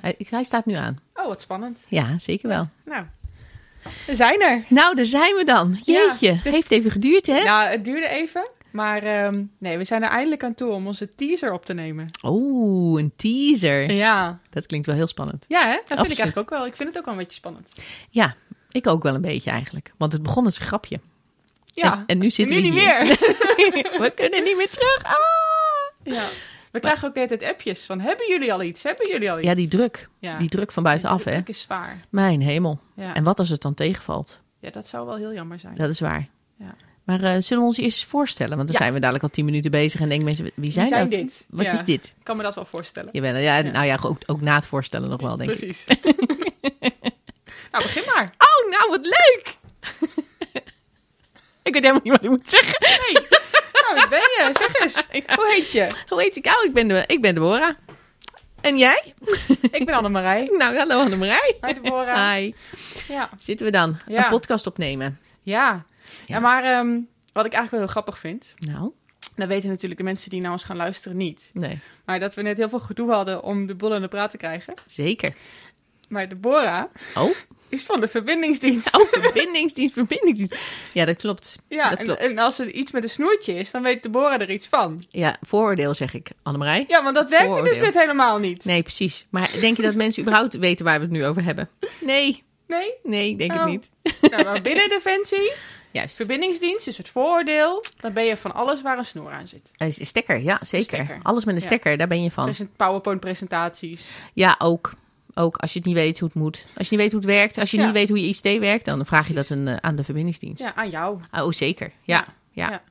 Hij, hij staat nu aan. Oh, wat spannend. Ja, zeker wel. Nou, we zijn er. Nou, daar zijn we dan. Jeetje, heeft even geduurd, hè? Nou, het duurde even. Maar ehm, nee, we zijn er eindelijk aan toe om onze teaser op te nemen. Oeh, een teaser. Ja. Dat klinkt wel heel spannend. Ja, hè? Dat vind Absoluut. ik eigenlijk ook wel. Ik vind het ook wel een beetje spannend. Ja, ik ook wel een beetje eigenlijk. Want het begon als een grapje. Ja. En, en nu zitten nu we niet hier. meer. We kunnen niet meer terug. Ah! ja. We krijgen ook de hele tijd appjes van, hebben jullie al iets? Hebben jullie al iets? Ja, die druk. Ja. Die druk van buitenaf, Die hè? druk is zwaar. Mijn hemel. Ja. En wat als het dan tegenvalt? ja, dat zou wel heel jammer zijn. Dat is waar. Ja. Maar eh, zullen we ons eerst eens voorstellen? Want dan Ja. zijn we dadelijk al tien minuten bezig en denken mensen, wie zijn, zijn dat? dit? Wat Ja. is dit? Ik kan me dat wel voorstellen. Jawel, ja, Ja. nou ja, ook, ook na het voorstellen nog wel, denk ik. Precies. nou, begin maar. Oh, nou wat leuk! ik weet helemaal niet wat ik moet zeggen. Nou, wie ben je? Zeg eens. Hoe heet je? Hoe heet ik? Oh, ik ben, de, ik ben Deborah. En jij? Ik ben Annemarij. Nou, hallo Annemarij. Hi Deborah. Hi. Ja. Zitten we dan? Ja. Een podcast opnemen. Ja. Ja. ja, maar ehm, wat ik eigenlijk wel heel grappig vind, Nou, dat weten natuurlijk de mensen die naar ons gaan luisteren niet. nee. Maar dat we net heel veel gedoe hadden om de boel aan de praat te krijgen. Zeker. Maar Deborah Oh, is van de verbindingsdienst. oh verbindingsdienst, verbindingsdienst. Ja, dat klopt. ja, dat en- klopt. En, als er iets met een snoertje is, dan weet Deborah er iets van. Ja, vooroordeel zeg ik, Annemarij. Ja, want dat werkte dus Vooroordeel. net helemaal niet. Nee, precies. Maar denk je dat mensen überhaupt weten waar we het nu over hebben? Nee, Nee? nee, ik denk Oh. het niet. Nou, maar binnen Defensie, Juist. verbindingsdienst is het voordeel. Dan ben je van alles waar een snoer aan zit. Een stekker, ja, zeker. Stekker. Alles met een Ja. stekker, daar ben je van. Dus een PowerPoint-presentaties. Ja, ook. Ook als je het niet weet hoe het moet. Als je niet weet hoe het werkt, als je Ja. niet weet hoe je ICT werkt, dan vraag je dat een, eh, aan de verbindingsdienst. Ja, aan jou. Oh, zeker. Ja, ja, Ja.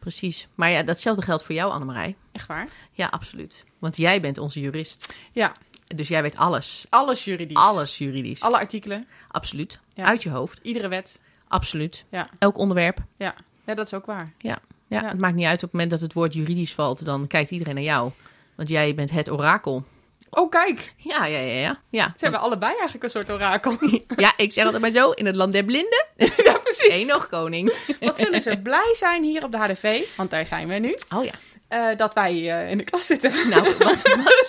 precies. Maar ja, datzelfde geldt voor jou, Annemarij. Echt waar? Ja, absoluut. Want jij bent onze jurist. Ja, Dus jij weet alles. alles juridisch. Alles juridisch. Alle artikelen, absoluut. Ja. Uit je hoofd. iedere wet. Absoluut. Ja. Elk onderwerp. Ja. ja, dat is ook waar. Ja, Ja. het maakt niet uit. Op het moment dat het woord juridisch valt, dan kijkt iedereen naar jou. Want jij bent het orakel. Oh, kijk. Ja, ja, ja. Ja, ja, Zijn we allebei eigenlijk een soort orakel? Want- ja ik zeg altijd maar zo. In het land der blinden, ja, precies. één nog koning. Wat zullen ze blij zijn hier op de HDV, want daar zijn we nu, Oh ja. eh, dat wij eh, in de klas zitten. Nou, wat, wat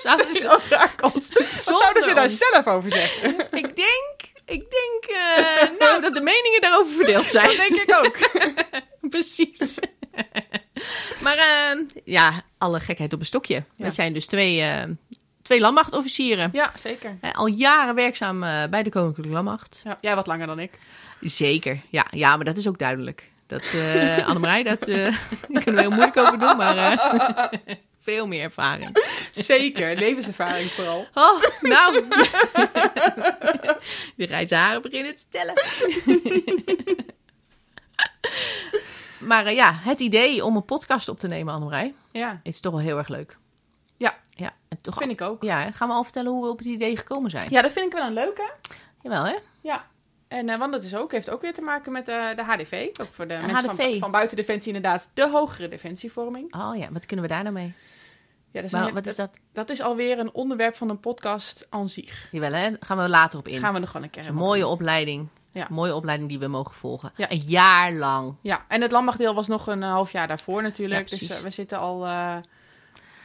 zouden Die ze... orakels. Wat zouden ze Zonder daar ons. zelf over zeggen? Ik denk, ik denk eh, nou, dat de meningen daarover verdeeld Dat zijn. denk ik ook. Precies. Maar eh, ja, alle gekheid op een stokje. Ja. Het zijn dus twee, eh, twee landmachtofficieren. Ja, zeker. Eh, Al jaren werkzaam eh, bij de Koninklijke Landmacht. Ja, jij wat langer dan ik. Zeker, ja, ja, maar dat is ook duidelijk. Dat, eh Annemarij, dat eh, daar kunnen we heel moeilijk over doen, maar eh, veel meer ervaring. Zeker, levenservaring vooral. Oh, nou. De grijze haren beginnen te tellen. maar eh, ja, het idee om een podcast op te nemen, Annemarij, Ja, is toch wel heel erg leuk. Ja. ja en toch, vind ik ook. ja hè? gaan we al vertellen hoe we op het idee gekomen zijn? Ja, dat vind ik wel een leuke. Jawel, hè? Ja. En eh, want dat is ook, heeft ook weer te maken met eh, de HDV. Ook voor de Ah, mensen HDV. Van, van buiten Defensie inderdaad. De hogere Defensievorming. Oh ja, wat kunnen we daar nou mee? Ja, dat is, Maar een- wat is dat? dat is alweer een onderwerp van een podcast aan zich. Jawel, hè? Gaan we later op in. Gaan we er gewoon een keer Het is helemaal een mooie opleiding. Ja. Een mooie opleiding die we mogen volgen. Ja. Een jaar lang. Ja, en het landmachtdeel was nog een eh, half jaar daarvoor natuurlijk. Ja, dus precies. eh, we zitten al eh,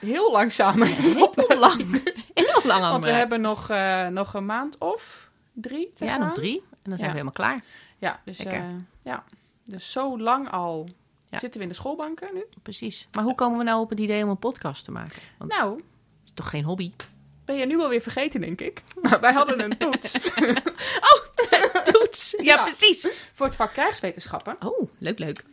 heel langzaam op. Heel lang. Heel lang aan Want we het hebben nog, eh, nog een maand of drie te Ja, gaan. nog drie. En dan zijn Ja. we helemaal klaar. Ja, dus, Lekker. eh, ja. dus zo lang al Ja. zitten we in de schoolbanken nu. Precies. Maar hoe komen we nou op het idee om een podcast te maken? Want Nou, het is toch geen hobby? ben je nu alweer vergeten, denk ik. Maar wij hadden een toets Toets! Ja, Ja. precies. voor het vak krijgswetenschappen. Oh, leuk, leuk.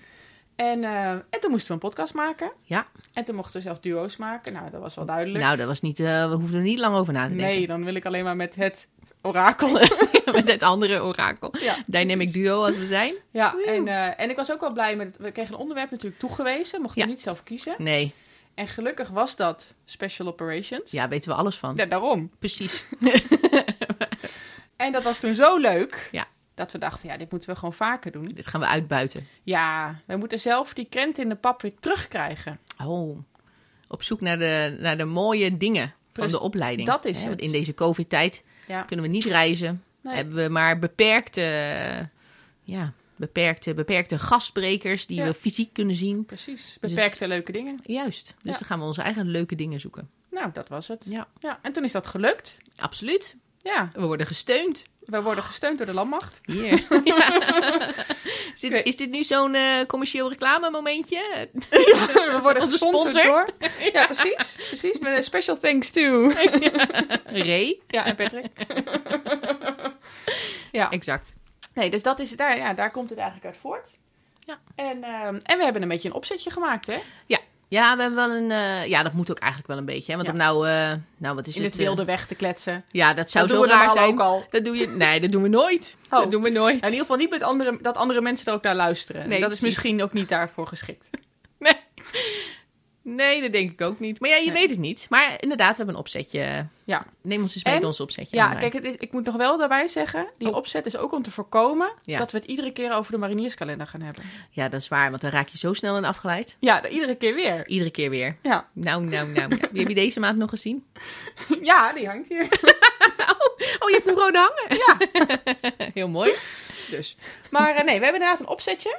En, eh, en toen moesten we een podcast maken. Ja. En toen mochten we zelf duo's maken. Nou, dat was wel duidelijk. Nou, dat was niet... eh, we hoefden er niet lang over na te denken. nee, dan wil ik alleen maar met het orakel. Met het andere orakel. ja, Dynamic duo als we zijn. Ja, Woehoe. en, eh, en ik was ook wel blij met het. We kregen een onderwerp natuurlijk toegewezen, mochten we Ja. niet zelf kiezen. Nee. En gelukkig was dat Special Operations. Ja, weten we alles van. Ja, daarom. Precies. En dat was toen zo leuk. Ja. Dat we dachten, ja, dit moeten we gewoon vaker doen. Dit gaan we uitbuiten. Ja, we moeten zelf die krent in de pap weer terugkrijgen. Oh, op zoek naar de, naar de mooie dingen van Precies, de opleiding. dat is Hè, Want het. in deze COVID-tijd Ja. kunnen we niet reizen. Nee. Hebben we maar beperkte, eh, ja, beperkte, beperkte gastsprekers die Ja. we fysiek kunnen zien. Precies. Dus het- Beperkte leuke dingen. Juist. Dus Ja. dan gaan we onze eigen leuke dingen zoeken. Nou, dat was het. Ja. ja. En toen is dat gelukt. Absoluut. Ja, We worden gesteund. we worden gesteund door de landmacht. Hier. Ja. Is, dit, is dit nu zo'n eh, commercieel reclame momentje? we worden Onze gesponsord sponsor. door. Ja, precies. Precies. Met een special thanks to. Ray? Ja, en Patrick. ja. Exact. Nee, dus dat is, daar, ja, daar komt het eigenlijk uit voort. Ja. En, ehm, en we hebben een beetje een opzetje gemaakt, hè? Ja, we hebben wel een. eh, ja, dat moet ook eigenlijk wel een beetje. Hè? Want Ja. om nou, eh, nou, wat is In het? het eh, wilde weg te kletsen. ja, dat zou dat zo doen we raar normaal zijn. ook al. Dat doe je. Nee, dat doen we nooit. Oh. Dat doen we nooit. In ieder geval niet met andere, dat andere mensen er ook naar luisteren. Nee, dat is precies. misschien ook niet daarvoor geschikt. Nee, dat denk ik ook niet. Maar ja, je Nee. weet het niet. Maar inderdaad, we hebben een opzetje. Ja. Neem ons eens mee En- met ons opzetje. Ja, Annemar. kijk, het is, ik moet nog wel daarbij zeggen, die Oh. opzet is ook om te voorkomen Ja. dat we het iedere keer over de marinierskalender gaan hebben. Ja, dat is waar, want dan raak je zo snel in afgeleid. Ja, de- iedere keer weer. Iedere keer weer. Ja, Nou, nou, nou. Ja. Wie heb je deze maand nog gezien? ja die hangt hier. Oh, je hebt hem gewoon hangen. Ja. Heel mooi. Dus. Maar eh, nee, we hebben inderdaad een opzetje.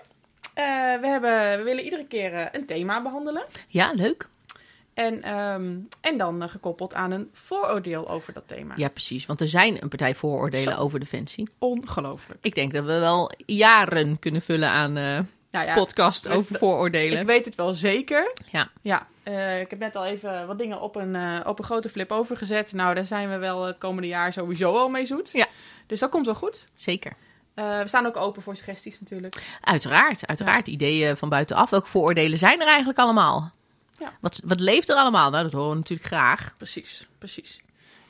Eh, we, hebben, we willen iedere keer eh, een thema behandelen. Ja, leuk. En, ehm, en dan eh, gekoppeld aan een vooroordeel over dat thema. Ja, precies. Want er zijn een partij vooroordelen over Defensie. Ongelooflijk. Ik denk dat we wel jaren kunnen vullen aan eh, Nou ja, podcast dat- over vooroordelen. ik weet het wel zeker. Ja. ja eh, ik heb net al even wat dingen op een, eh, op een grote flip overgezet. Nou, daar zijn we wel het komende jaar sowieso al mee zoet. Ja. Dus dat komt wel goed. Zeker. Eh, we staan ook open voor suggesties natuurlijk. Uiteraard, uiteraard. Ideeën van buitenaf. Welke vooroordelen zijn er eigenlijk allemaal? Ja. Wat, wat leeft er allemaal? Nou, dat horen we natuurlijk graag. Precies, precies.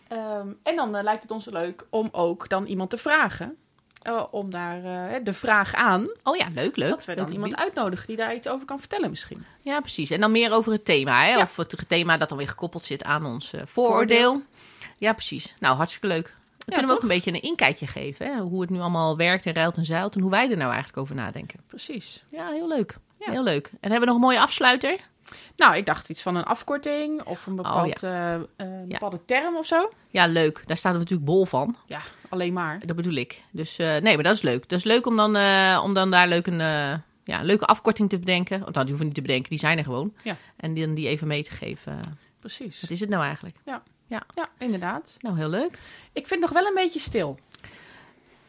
Ehm, en dan eh, lijkt het ons leuk om ook dan iemand te vragen. eh, om daar eh, de vraag aan. Oh ja, leuk, leuk. dat we dan Leuk iemand idee. uitnodigen die daar iets over kan vertellen misschien. Ja, precies. En dan meer over het thema, hè? Ja. Of het thema dat dan weer gekoppeld zit aan ons eh, vooroordeel. Ja, precies. Nou, hartstikke leuk. Dan kunnen we ook toch? een beetje een inkijkje geven, hè? Hoe het nu allemaal werkt en ruilt en zeilt. En hoe wij er nou eigenlijk over nadenken. Precies. Ja, heel leuk. Ja. Heel leuk. En hebben we nog een mooie afsluiter? Nou, ik dacht iets van een afkorting of een, bepaald, eh, eh, een Oh, Ja. bepaalde term of zo. Ja, leuk. Daar staan we natuurlijk bol van. Ja, alleen maar. Dat bedoel ik. Dus eh, nee, maar dat is leuk. Dat is leuk om dan, eh, om dan daar leuk een, eh, ja, een leuke afkorting te bedenken. Want nou, die hoeven we niet te bedenken, die zijn er gewoon. Ja. En die, die even mee te geven. Precies. Wat is het nou eigenlijk? Ja, inderdaad. Nou, heel leuk. Ik vind het nog wel een beetje stil.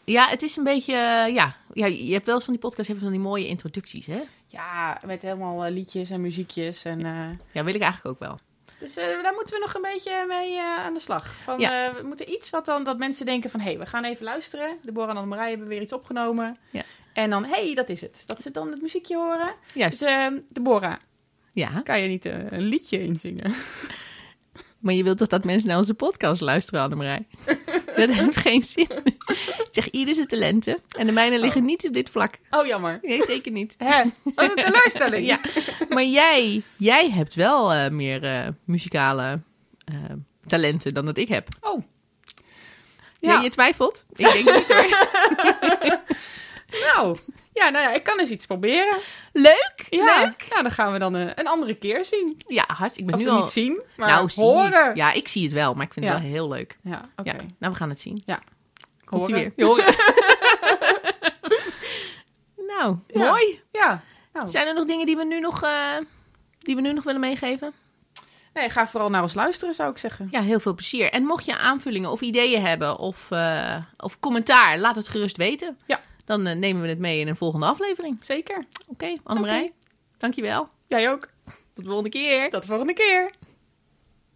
Ja, het is een beetje, eh, ja, ja, je hebt wel eens van die podcast hebben van die mooie introducties, hè? Ja, met helemaal eh, liedjes en muziekjes. En, eh, Ja, wil ik eigenlijk ook wel. dus eh, daar moeten we nog een beetje mee eh, aan de slag. Van, Ja. eh, we moeten iets wat dan dat mensen denken van... hé, hey, we gaan even luisteren. Deborah en Annemarij hebben weer iets opgenomen. Ja. En dan, hé, hey, dat is het. Dat ze dan het muziekje horen. Dus Juist. eh Deborah, Ja, kan je niet eh, een liedje inzingen? maar je wilt toch dat mensen naar onze podcast luisteren, Annemarij? dat heeft geen zin. Ik zeg, ieder zijn talenten. En de mijne liggen niet op dit vlak. Oh, jammer. Nee, zeker niet. Hè? Wat een teleurstelling. Ja, maar jij, jij hebt wel eh, meer eh, muzikale eh, talenten dan dat ik heb. Oh. Ja. Ja. je twijfelt? Ik denk niet hoor. Nou. Ja, nou ja, ik kan eens iets proberen. Leuk, Ja. leuk. Nou, dan gaan we dan eh, een andere keer zien. Ja, hart. Ik ben Of nu niet al... zien, maar nou, zie je horen. niet. Ja, ik zie het wel, maar ik vind Ja. het wel heel leuk. Ja, oké. Ja, nou, we gaan het zien. Ja. Komt ie weer. Horen. Je hoort het. nou, Ja. mooi. Ja. Nou, Zijn er nog dingen die we nu nog... eh, die we nu nog willen meegeven. nee, ga vooral naar ons luisteren, zou ik zeggen. Ja, heel veel plezier. En mocht je aanvullingen of ideeën hebben of, eh, of commentaar, laat het gerust weten. Ja. Dan eh, nemen we het mee in een volgende aflevering. Zeker. Oké, Annemarij, dankjewel. Jij ook. Tot de volgende keer. Tot de volgende keer.